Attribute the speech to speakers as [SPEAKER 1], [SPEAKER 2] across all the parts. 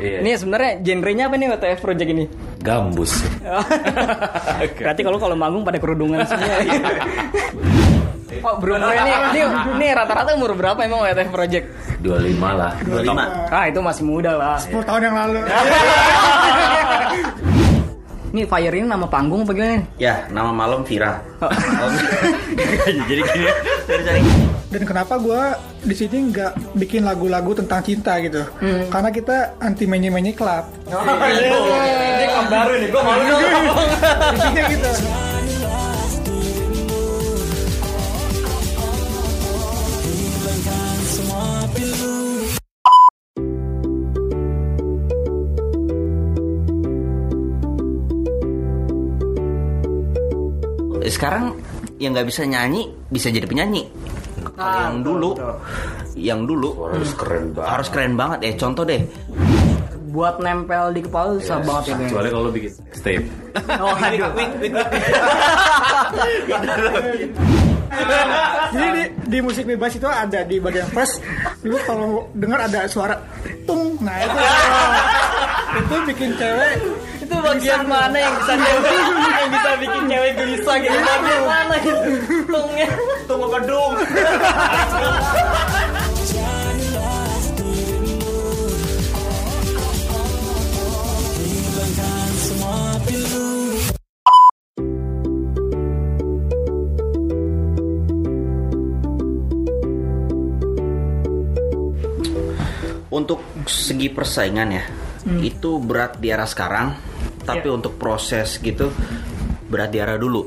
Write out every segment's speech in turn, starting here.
[SPEAKER 1] Iya.
[SPEAKER 2] Ini sebenarnya genrenya apa nih WTF Project ini?
[SPEAKER 1] Gambus.
[SPEAKER 2] Berarti kalau kalau manggung pada kerudungan semua. oh, bro, bro, ini, ini, ini rata-rata umur berapa emang WTF Project?
[SPEAKER 1] 25 lah.
[SPEAKER 3] 25.
[SPEAKER 2] Ah, itu masih muda lah.
[SPEAKER 4] 10 tahun yang lalu.
[SPEAKER 2] Ini Fire ini nama panggung apa gimana? nih?
[SPEAKER 3] Ya, nama malam Vira.
[SPEAKER 1] Oh.
[SPEAKER 3] Oh. Jadi gini. Cari-cari.
[SPEAKER 4] Dan kenapa gue di sini nggak bikin lagu-lagu tentang cinta gitu? Karena kita anti menye-menye club.
[SPEAKER 2] Ini baru nih, gue malu dong.
[SPEAKER 4] Intinya gitu.
[SPEAKER 3] Sekarang yang nggak bisa nyanyi bisa jadi penyanyi. Kalau yang dulu, yang dulu
[SPEAKER 1] Harus keren banget.
[SPEAKER 3] harus keren banget ya. Contoh deh,
[SPEAKER 2] Buat nempel di kepala susah banget ya. Bang.
[SPEAKER 1] Kecuali kalau lu bikin step.
[SPEAKER 2] Oh, aduh.
[SPEAKER 4] Jadi di, di musik bebas itu ada di bagian first, lu kalau dengar ada suara tung, nah itu itu bikin cewek
[SPEAKER 2] itu bagian mana yang bisa cewek yang bisa bikin cewek gelisah gitu bagian mana gitu tungnya
[SPEAKER 3] tunggu gedung. Untuk segi persaingan ya, itu berat di era sekarang, tapi untuk proses gitu berat di era dulu.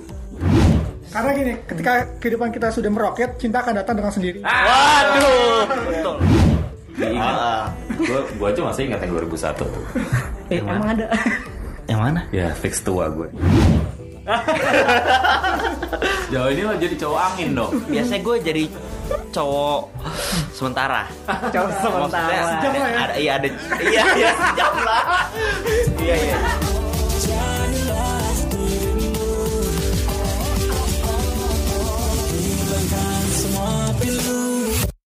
[SPEAKER 4] karena gini, ketika kehidupan kita sudah meroket, cinta akan datang dengan sendiri.
[SPEAKER 3] Waduh. Iya. Ah.
[SPEAKER 1] Gue Ah. gua aja masih ingat yang 2001 tuh.
[SPEAKER 2] eh, emang ada
[SPEAKER 3] Yang mana?
[SPEAKER 1] Ya, fix tua gue. Jauh ini lo jadi cowok angin dong.
[SPEAKER 3] Biasanya gue jadi cowok sementara.
[SPEAKER 2] cowok sementara
[SPEAKER 3] Maksudnya ada, ada, iya ada, iya iya sejam lah. Iya iya.